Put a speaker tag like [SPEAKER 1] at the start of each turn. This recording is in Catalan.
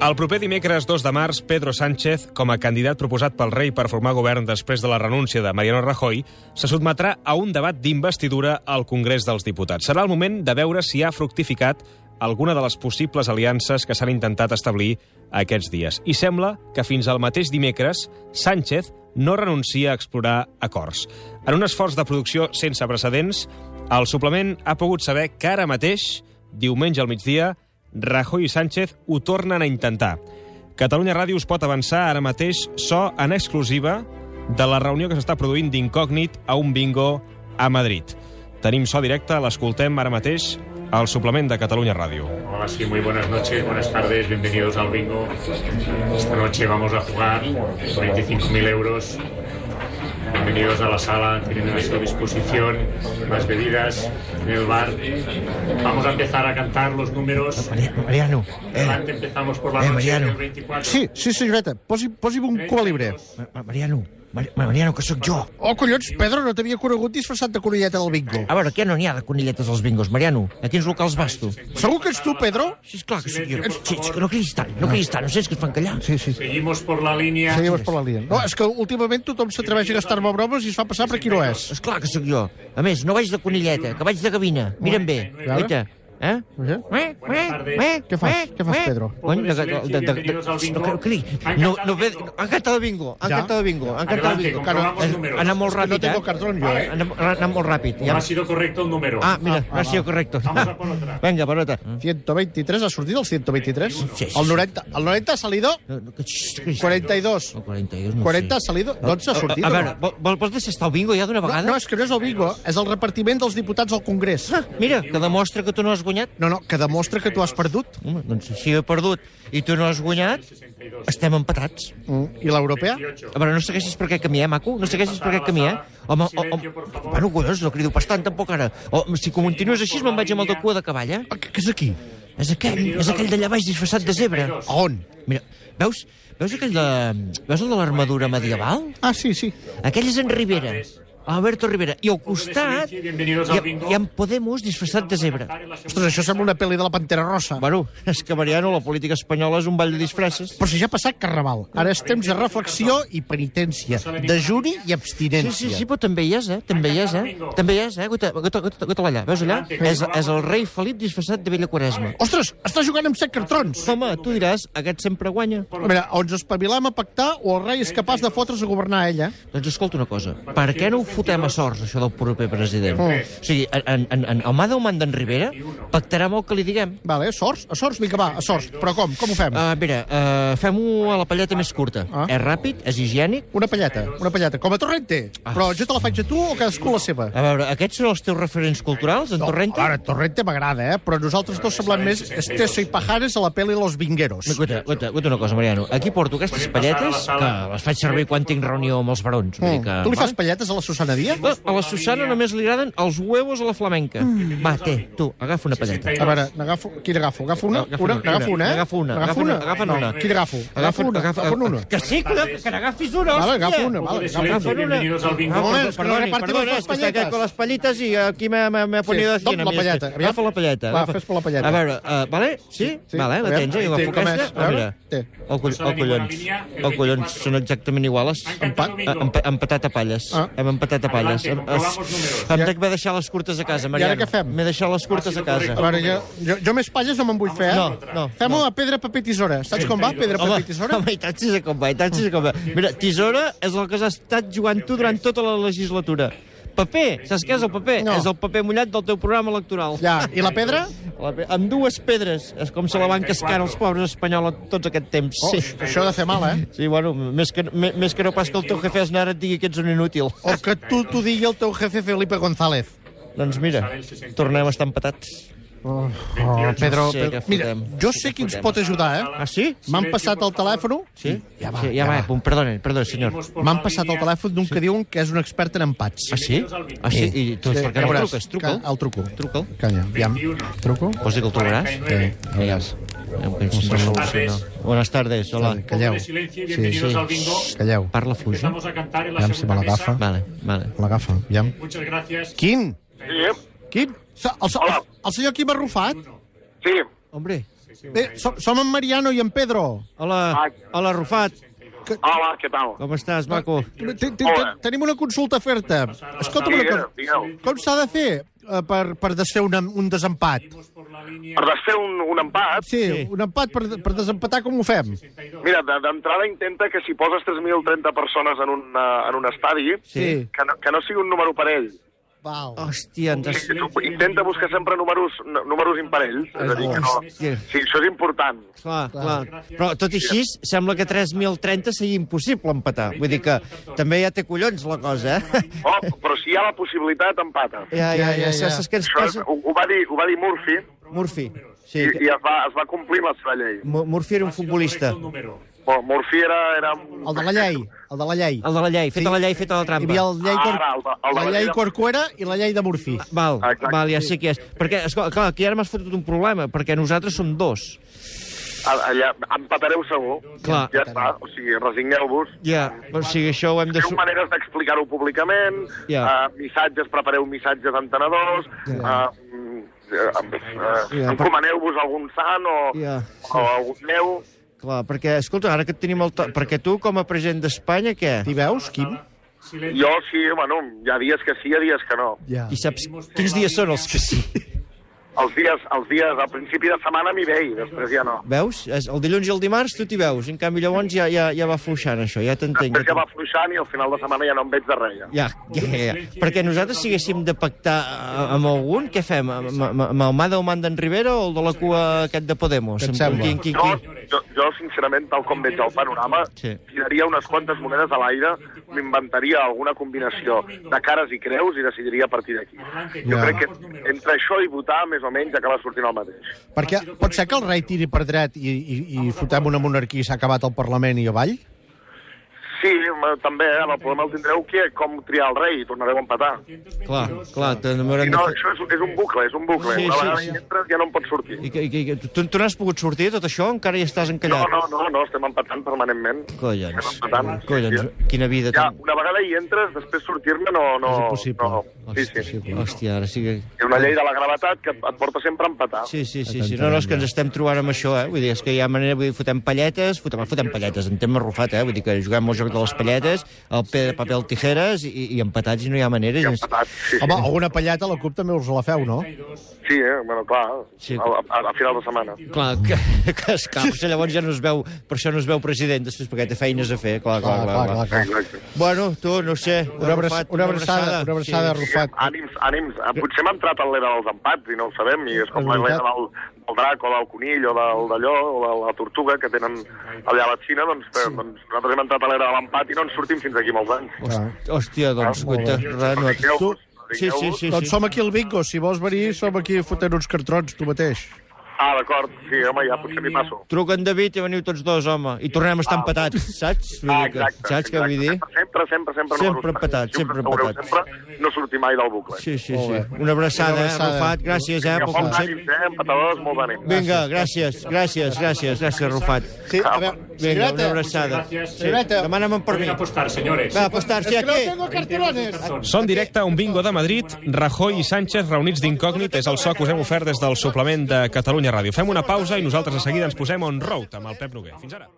[SPEAKER 1] El proper dimecres 2 de març, Pedro Sánchez, com a candidat proposat pel rei per formar govern després de la renúncia de Mariano Rajoy, se sotmetrà a un debat d'investidura al Congrés dels Diputats. Serà el moment de veure si ha fructificat alguna de les possibles aliances que s'han intentat establir aquests dies. I sembla que fins al mateix dimecres, Sánchez no renuncia a explorar acords. En un esforç de producció sense precedents, el suplement ha pogut saber que ara mateix, diumenge al migdia, Rajoy i Sánchez ho tornen a intentar. Catalunya Ràdio us pot avançar ara mateix so en exclusiva de la reunió que s'està produint d'incògnit a un bingo a Madrid. Tenim so directe, l'escoltem ara mateix al suplement de Catalunya Ràdio.
[SPEAKER 2] Hola, sí, muy buenas noches, buenas tardes, bienvenidos al bingo. Esta noche vamos a jugar 25.000 euros. Bienvenidos a la sala, tienen a su disposición las bebidas en el bar. Vamos a empezar a cantar los números.
[SPEAKER 3] Maria- Mariano, eh,
[SPEAKER 2] Adelante, empezamos por la
[SPEAKER 3] Eh,
[SPEAKER 2] noche
[SPEAKER 3] Mariano.
[SPEAKER 2] del 24.
[SPEAKER 4] Sí, sí, senyoreta, posi, posi'm un colibre.
[SPEAKER 3] Ma- Ma- Mariano, Mar- Mariano, que sóc jo.
[SPEAKER 4] Oh, collons, Pedro, no t'havia conegut disfressat de conilleta del bingo.
[SPEAKER 3] A veure, què no n'hi ha de conilletes als bingos, Mariano? A quins locals vas tu?
[SPEAKER 4] Segur que ets tu, Pedro?
[SPEAKER 3] Sí, esclar que sóc jo. Sí, sí, que no cridis tant, no cridis tant, no sé, és que et fan callar.
[SPEAKER 4] Sí, sí.
[SPEAKER 2] Seguimos por la línea.
[SPEAKER 4] Seguim per la línia. No, és que últimament tothom s'atreveix a gastar-me bromes i es fa passar per qui no és.
[SPEAKER 3] Esclar que sóc jo. A més, no vaig de conilleta, que vaig de gavina. Mira'm bé. Guaita. Eh?
[SPEAKER 4] Eh?
[SPEAKER 3] Eh? Eh? Eh?
[SPEAKER 4] Què fas? Què fas, Pedro?
[SPEAKER 3] Cony, de, de, de, de, de, no, no, cridi. no, no, ve- no, ha encantat el bingo, ha
[SPEAKER 4] Ja?
[SPEAKER 3] encantat el bingo, ha encantat el
[SPEAKER 2] Adelante,
[SPEAKER 3] bingo.
[SPEAKER 2] comprobamos
[SPEAKER 3] Eh,
[SPEAKER 2] números.
[SPEAKER 3] Ha anat molt
[SPEAKER 4] És que no
[SPEAKER 3] ràpid,
[SPEAKER 4] tengo
[SPEAKER 3] eh?
[SPEAKER 4] cartón, jo, eh?
[SPEAKER 3] Ha anat- ha anat molt ràpid.
[SPEAKER 2] No
[SPEAKER 3] Ja.
[SPEAKER 2] ha sido correcto el número.
[SPEAKER 3] Ah, mira, no ha sido correcto.
[SPEAKER 2] Vamos a por otra.
[SPEAKER 3] Vinga, per otra.
[SPEAKER 4] 123, eh, ha sortit el 123?
[SPEAKER 3] Sí, sí, sí.
[SPEAKER 4] El 90, el 90 ha salido?
[SPEAKER 3] No, no, que- xxt, que-
[SPEAKER 4] 42.
[SPEAKER 3] No, 42 no
[SPEAKER 4] 40 ha
[SPEAKER 3] sé.
[SPEAKER 4] salido? 12 ha sortit?
[SPEAKER 3] A
[SPEAKER 4] o no?
[SPEAKER 3] veure, vol, vol, vols desestar el bingo ja d'una
[SPEAKER 4] No,
[SPEAKER 3] vegada?
[SPEAKER 4] no, és que no és el bingo, és el repartiment dels diputats al Congrés.
[SPEAKER 3] Mira, que demostra que tu no has guanyat.
[SPEAKER 4] No, no, que demostra que tu has perdut.
[SPEAKER 3] Home, doncs si he perdut i tu no has guanyat, estem empatats.
[SPEAKER 4] Mm. I l'europea?
[SPEAKER 2] 28.
[SPEAKER 3] A veure, no segueixis per aquest camí, eh, maco? No segueixis per aquest camí, eh? Home, o, o, bueno, collons, no crido pas tant, tampoc ara. O, si continues així, me'n vaig amb el de cua de cavall, eh?
[SPEAKER 4] Què Ah, és aquí?
[SPEAKER 3] És aquell, és aquell d'allà baix disfressat de zebra.
[SPEAKER 4] A On?
[SPEAKER 3] Mira, veus, veus aquell de... Veus el de l'armadura medieval?
[SPEAKER 4] Ah, sí, sí.
[SPEAKER 3] Aquell és en Rivera. Alberto Rivera. I al costat hi ha, hi ha en Podemos disfressat de zebra.
[SPEAKER 4] Ostres, això sembla una pel·li de la Pantera Rosa.
[SPEAKER 3] Bueno, és que, Mariano, la política espanyola és un ball de disfresses.
[SPEAKER 4] Però si ja ha passat Carnaval, ara és temps de reflexió i penitència, de juri i
[SPEAKER 3] Sí,
[SPEAKER 4] abstinència.
[SPEAKER 3] sí, sí, però també hi és, eh? També hi és, eh? També hi és, eh? Guaita, guaita, guaita, guaita allà. Veus allà? És, és el rei Felip disfressat de Vella Quaresma.
[SPEAKER 4] Ostres, està jugant amb set cartrons!
[SPEAKER 3] Home, tu diràs, aquest sempre guanya.
[SPEAKER 4] A veure, o ens espavilam a pactar o el rei és capaç de fotre's a governar a ella.
[SPEAKER 3] Doncs escolta una cosa, per què no ho fotem a sorts, això del proper president?
[SPEAKER 2] Mm.
[SPEAKER 3] O sigui, en, en, en Almada o Mandan Rivera pactarà amb el que li diguem.
[SPEAKER 4] Vale, a sorts, a sorts, vinga, va, a sorts. Però com, com ho fem?
[SPEAKER 3] Uh, mira, uh, fem-ho a la palleta més curta.
[SPEAKER 4] Ah.
[SPEAKER 3] És ràpid, és higiènic.
[SPEAKER 4] Una palleta, una palleta, com a Torrente.
[SPEAKER 3] Ah.
[SPEAKER 4] Però jo te la faig a tu o cadascú la seva?
[SPEAKER 3] A veure, aquests són els teus referents culturals, en Ah, Torrente?
[SPEAKER 4] Ara, Torrente m'agrada, eh? Però nosaltres dos semblem més Esteso i Pajares a la pel·li Los Vingueros.
[SPEAKER 3] Escolta, escolta, escolta una cosa, Mariano. Aquí porto aquestes palletes que les faig servir quan tinc reunió amb els barons. Vull dir que,
[SPEAKER 4] Mm. Tu li fas palletes a la Susana Díaz?
[SPEAKER 3] Va, a la Susana només li agraden els huevos a la flamenca. Mm. Va, té, tu, agafa una palleta.
[SPEAKER 4] A veure, n'agafo... Quina agafo? Agafo una?
[SPEAKER 3] Agafa
[SPEAKER 4] una?
[SPEAKER 3] una,
[SPEAKER 4] N'agafo una, eh?
[SPEAKER 3] agafa una,
[SPEAKER 4] N'agafo una?
[SPEAKER 3] agafa
[SPEAKER 4] No,
[SPEAKER 3] una.
[SPEAKER 4] Quina agafo? Agafo una, agafo una.
[SPEAKER 3] Que sí, que, que n'agafis una, hòstia!
[SPEAKER 4] Vale, agafa una, vale.
[SPEAKER 2] Poco de
[SPEAKER 4] Agafa
[SPEAKER 2] silencio,
[SPEAKER 3] Agafa una.
[SPEAKER 2] bienvenidos al bingo.
[SPEAKER 3] Ah,
[SPEAKER 4] Moment,
[SPEAKER 3] perdó,
[SPEAKER 4] que no
[SPEAKER 3] perdoni,
[SPEAKER 4] repartimos
[SPEAKER 3] perdoni, és que
[SPEAKER 4] las
[SPEAKER 3] està
[SPEAKER 4] palletas.
[SPEAKER 3] aquí con las pallitas y aquí me, me, me he ponido
[SPEAKER 4] Sí,
[SPEAKER 3] así.
[SPEAKER 4] dona la palleta, aviam.
[SPEAKER 3] Agafa la palleta.
[SPEAKER 4] Va,
[SPEAKER 3] agafa.
[SPEAKER 4] fes per la palleta.
[SPEAKER 3] A veure, uh, vale? Sí?
[SPEAKER 4] Sí,
[SPEAKER 3] Vale, la
[SPEAKER 4] aviam.
[SPEAKER 3] tens, eh? Jo
[SPEAKER 4] Sí,
[SPEAKER 3] agafo
[SPEAKER 4] com és?
[SPEAKER 3] aquesta.
[SPEAKER 4] A
[SPEAKER 3] Ah,
[SPEAKER 4] veure,
[SPEAKER 3] mira.
[SPEAKER 4] té.
[SPEAKER 3] Oh, coll, oh, collons. Oh, collons, són exactament iguales.
[SPEAKER 2] Empat.
[SPEAKER 3] Empa, empatat a palles.
[SPEAKER 4] Ah.
[SPEAKER 3] Hem empatat a palles.
[SPEAKER 2] Adelante,
[SPEAKER 3] Em,
[SPEAKER 2] comprobamos números.
[SPEAKER 3] em dec haver deixat les curtes a casa, Mariano.
[SPEAKER 4] què fem?
[SPEAKER 3] M'he deixat les curtes a casa.
[SPEAKER 4] A veure, jo, jo, jo més palles no me'n vull fer, eh?
[SPEAKER 3] No, no,
[SPEAKER 4] Fem-ho a pedra, paper, tisora. Saps com va, pedra,
[SPEAKER 3] Home,
[SPEAKER 4] paper, tisora?
[SPEAKER 3] home, i tant si com va, i tant si com va. Mira, tisora és el que has estat jugant tu durant tota la legislatura. Paper, saps què és el paper?
[SPEAKER 4] No.
[SPEAKER 3] És el paper mullat del teu programa electoral.
[SPEAKER 4] Ja, i la pedra?
[SPEAKER 3] La pe- Amb dues pedres. És com se la van cascar els pobres espanyols tots aquest temps.
[SPEAKER 4] Oh,
[SPEAKER 3] Sí.
[SPEAKER 4] Això ha de fer mal, eh?
[SPEAKER 3] Sí, bueno, més que, me- més que no pas que el teu jefe Aznar et digui que ets un inútil.
[SPEAKER 4] O que tu t'ho digui el teu jefe Felipe González.
[SPEAKER 3] Doncs mira, tornem a estar empatats.
[SPEAKER 4] Oh, Pedro,
[SPEAKER 3] Ah, Sí, que
[SPEAKER 4] Pedro, mira,
[SPEAKER 3] fotem.
[SPEAKER 4] jo sé qui ens pot ajudar, eh?
[SPEAKER 3] Ah, sí?
[SPEAKER 4] M'han passat el telèfon
[SPEAKER 3] Sí?
[SPEAKER 4] Ja va,
[SPEAKER 3] sí, ja,
[SPEAKER 4] ja
[SPEAKER 3] va. eh,
[SPEAKER 4] va.
[SPEAKER 3] Pum, perdoni, perdoni, senyor.
[SPEAKER 4] M'han passat el telèfon d'un que diuen que és un expert en empats.
[SPEAKER 3] Ah, sí? Ah, sí? I tu, per què
[SPEAKER 4] ja
[SPEAKER 3] no
[SPEAKER 4] veuràs.
[SPEAKER 3] truques? Truca'l.
[SPEAKER 4] Que- El truco.
[SPEAKER 3] Truca'l.
[SPEAKER 4] Calla, aviam. Truco?
[SPEAKER 3] Vols dir que el trobaràs? Vegas. Buenas tardes, hola.
[SPEAKER 4] Calleu.
[SPEAKER 2] silencio y
[SPEAKER 4] Sí,
[SPEAKER 2] bienvenidos
[SPEAKER 4] sí.
[SPEAKER 2] al bingo.
[SPEAKER 4] Calleu.
[SPEAKER 3] Parla eh? fluix, no?
[SPEAKER 2] Empezamos a cantar en la
[SPEAKER 4] Aviam si me
[SPEAKER 2] segunda mesa.
[SPEAKER 4] l'agafa.
[SPEAKER 3] Ah. Vale, vale.
[SPEAKER 4] L'agafa, aviam.
[SPEAKER 2] Muchas gracias.
[SPEAKER 4] Quim?
[SPEAKER 5] Sí,
[SPEAKER 4] Quim? Se- El, se- el senyor Quim Arrufat?
[SPEAKER 5] sí,
[SPEAKER 3] Hombre,
[SPEAKER 4] Bé, Eh, som, som en Mariano i en Pedro.
[SPEAKER 3] Hola, hola, Rufat.
[SPEAKER 5] Hola, què tal?
[SPEAKER 3] Com estàs, maco?
[SPEAKER 4] Te- te- te- Tenim una consulta a fer-te. Escolta'm una
[SPEAKER 5] Digueu,
[SPEAKER 4] cosa.
[SPEAKER 5] digueu.
[SPEAKER 4] Com s'ha de fer eh, per, per desfer un, un desempat?
[SPEAKER 5] Per desfer un, un empat,
[SPEAKER 4] Sí, un empat per, per desempatar com ho fem?
[SPEAKER 5] mira, de- d'entrada intenta que si poses 3.030 persones en un, eh, en un estadi,
[SPEAKER 4] Sí.
[SPEAKER 5] que, no, que no sigui un número parell.
[SPEAKER 4] Val.
[SPEAKER 3] Hòstia, ens has...
[SPEAKER 5] Sí, tu Intenta buscar sempre números, n- números imparells. És a dir, que no...
[SPEAKER 3] Hòstia.
[SPEAKER 5] Sí, això és important.
[SPEAKER 3] Clar, clar. Però, tot i així, sembla que 3.030 sigui impossible empatar. Vull dir que també ja té collons la cosa, eh?
[SPEAKER 5] Oh, però si hi ha la possibilitat, empata.
[SPEAKER 3] Ja, ja, ja.
[SPEAKER 4] ja.
[SPEAKER 3] Saps què ens
[SPEAKER 5] Això és,
[SPEAKER 3] passa?
[SPEAKER 5] ho, ho, va dir, ho va dir Murphy,
[SPEAKER 3] Murphy.
[SPEAKER 5] i,
[SPEAKER 3] Sí,
[SPEAKER 5] i es, va, es va complir amb la seva llei.
[SPEAKER 3] Mu- Murphy era un futbolista.
[SPEAKER 5] Però Murphy era... era...
[SPEAKER 4] El de la llei, el de la llei.
[SPEAKER 3] El de la llei, feta la llei, feta la
[SPEAKER 4] Hi
[SPEAKER 3] trampa.
[SPEAKER 4] havia el llei, cor...
[SPEAKER 5] Ara, el de- el de
[SPEAKER 4] la
[SPEAKER 5] la llei
[SPEAKER 4] llei
[SPEAKER 5] de-
[SPEAKER 4] Corcuera i la llei de Murphy.
[SPEAKER 3] Val,
[SPEAKER 5] Exacte.
[SPEAKER 3] val, ja sé qui és. Perquè, escolta, clar, aquí ara m'has fotut un problema, perquè nosaltres som dos.
[SPEAKER 5] Allà, empatareu segur.
[SPEAKER 3] Clar.
[SPEAKER 5] Ja està, o sigui, resigneu-vos.
[SPEAKER 3] Ja, o sigui, això ho hem de...
[SPEAKER 5] Teniu maneres d'explicar-ho públicament,
[SPEAKER 3] Ja.
[SPEAKER 5] eh, missatges, prepareu missatges entenedors, yeah. eh, eh,
[SPEAKER 3] Ja, per-
[SPEAKER 5] encomaneu-vos algun sant o,
[SPEAKER 3] Ja,
[SPEAKER 5] o algun meu.
[SPEAKER 3] Clar, perquè, escolta, ara que et tenim el... To... Perquè tu, com a president d'Espanya, què?
[SPEAKER 4] T'hi veus, Quim?
[SPEAKER 5] Jo sí, bueno, hi ha dies que sí, hi ha dies que no.
[SPEAKER 4] Ja.
[SPEAKER 3] I saps quins dies són els que sí?
[SPEAKER 5] Els dies, els dies, al principi de setmana m'hi veig, després ja no.
[SPEAKER 3] Veus? És- El dilluns i el dimarts tu t'hi veus. En canvi, llavors ja, ja, ja va fluixant, això. Ja t'entenc.
[SPEAKER 5] Després
[SPEAKER 3] Ja,
[SPEAKER 5] ja va fluixant i al final de setmana ja no em veig de res. Ja.
[SPEAKER 3] ja, ja, ja, ja. Perquè nosaltres si haguéssim de pactar eh, amb algun, què fem? Amb, amb, amb el mà del Mandan Rivera o el de la cua aquest de Podemos?
[SPEAKER 4] Què et sembla?
[SPEAKER 3] Quin, quin,
[SPEAKER 5] Jo,
[SPEAKER 3] quin?
[SPEAKER 5] jo, jo, sincerament, tal com veig el panorama,
[SPEAKER 3] Sí.
[SPEAKER 5] tiraria unes quantes monedes a l'aire, m'inventaria alguna combinació de cares i creus i decidiria a partir d'aquí. Jo
[SPEAKER 4] Ja.
[SPEAKER 5] crec que entre això i votar, més o menys, acaba sortint el mateix.
[SPEAKER 4] Perquè pot ser que el rei tiri per dret i, i, i fotem una monarquia i s'ha acabat el Parlament i avall?
[SPEAKER 5] Sí, ma- també, eh, el problema el tindreu que com triar el rei i tornareu a empatar.
[SPEAKER 3] Clar, clar,
[SPEAKER 5] I
[SPEAKER 3] t'haurem de
[SPEAKER 5] no,
[SPEAKER 3] fer...
[SPEAKER 5] això és, és un bucle, és un bucle.
[SPEAKER 3] Sí,
[SPEAKER 5] Una
[SPEAKER 3] sí,
[SPEAKER 5] vegada
[SPEAKER 3] sí.
[SPEAKER 5] hi entres ja no en pots sortir.
[SPEAKER 3] I, que- i, que- tu, tu n'has pogut sortir, tot això? Encara hi estàs
[SPEAKER 5] No,
[SPEAKER 3] encallat?
[SPEAKER 5] no, no, no, estem empatant permanentment.
[SPEAKER 3] Collons.
[SPEAKER 5] Estem empatant.
[SPEAKER 3] Collons, quina vida
[SPEAKER 5] Ja,
[SPEAKER 3] tan...
[SPEAKER 5] una vegada hi entres, després sortir-ne no... no
[SPEAKER 4] És impossible.
[SPEAKER 5] No. Sí, sí.
[SPEAKER 3] Hòstia, ara sí que...
[SPEAKER 5] Hi ha una llei de la gravetat que et porta sempre a empatar.
[SPEAKER 3] Sí, sí, sí, sí. No, no, és que ens estem trobant amb això, eh? Vull dir, és que hi ha manera, vull dir, fotem palletes, fotem, fotem palletes, en tema rufat, eh? Vull dir que juguem al joc de les palletes, el pe de paper al tijeres i, i empatats i no hi ha manera. I ens...
[SPEAKER 5] Empatat, sí.
[SPEAKER 4] Home, alguna palleta a la CUP també us la feu, no?
[SPEAKER 5] Sí, eh? bueno, clar,
[SPEAKER 3] Sí.
[SPEAKER 5] a, a, a final de setmana.
[SPEAKER 3] Clar, que, que escapa, llavors ja no es veu, per això no es veu president, després perquè té feines a fer, clar,
[SPEAKER 4] Ah,
[SPEAKER 3] clar, clar. clar, clar.
[SPEAKER 5] Exacte.
[SPEAKER 3] Bueno, tu, no ho sé,
[SPEAKER 4] Una, abraçada, una abraçada, una abraçada, Rufat.
[SPEAKER 5] Ànims, ànims. Ah, Potser m'ha entrat en l'era dels empats i no ho sabem, i és com
[SPEAKER 4] És veritat.
[SPEAKER 5] l'era del, del drac o del conill o del d'allò o de la tortuga que tenen allà a la Xina, doncs, eh, doncs nosaltres hem entrat a l'era de l'empat i no en sortim fins aquí molts anys.
[SPEAKER 3] Sí. Hòstia, doncs, guaita, res, no...
[SPEAKER 5] Ah, Digueu-vos,
[SPEAKER 3] Sí, sí,
[SPEAKER 5] digueu-vos.
[SPEAKER 3] sí,
[SPEAKER 4] Doncs
[SPEAKER 3] sí.
[SPEAKER 4] som aquí al bingo, si vols venir som aquí fotent uns cartrons, tu mateix.
[SPEAKER 5] Ah, d'acord, sí, home, ja potser m'hi passo.
[SPEAKER 3] Truca en David i veniu tots dos, home, i tornem a estar empatats, saps? Vull
[SPEAKER 5] Ah,
[SPEAKER 3] dir que-
[SPEAKER 5] exacte.
[SPEAKER 3] Saps què vull dir?
[SPEAKER 5] Sempre, sempre, sempre. Sempre,
[SPEAKER 3] Sempre
[SPEAKER 5] números
[SPEAKER 3] empatat,
[SPEAKER 5] perfectes.
[SPEAKER 3] sempre
[SPEAKER 5] Ho veureu
[SPEAKER 3] empatat.
[SPEAKER 5] Sempre no sortir mai del bucle.
[SPEAKER 3] Sí, sí, sí. Una abraçada,
[SPEAKER 4] Una
[SPEAKER 3] Una
[SPEAKER 4] abraçada.
[SPEAKER 3] abraçada. eh, Rufat. Gràcies, eh, pel
[SPEAKER 5] Molts
[SPEAKER 3] consell.
[SPEAKER 5] ànims, eh? Empatadors, molt d'ànim.
[SPEAKER 3] Vinga, gràcies, gràcies, gràcies, gràcies, Rufat.
[SPEAKER 4] Sí, a veure,
[SPEAKER 3] Vinga,
[SPEAKER 4] senyoreta,
[SPEAKER 3] una abraçada.
[SPEAKER 4] Senyoreta.
[SPEAKER 3] Demana'm un
[SPEAKER 2] Voy
[SPEAKER 3] permís.
[SPEAKER 2] a apostar, señores.
[SPEAKER 3] Va, apostar-s'hi
[SPEAKER 4] que no
[SPEAKER 3] aquí.
[SPEAKER 4] tengo cartelones.
[SPEAKER 1] Són directe a un bingo de Madrid, Rajoy i Sánchez reunits d'incògnit. És el so que us hem ofert des del suplement de Catalunya Ràdio. Fem una pausa i nosaltres de seguida ens posem on road amb el Pep Noguer. Fins ara.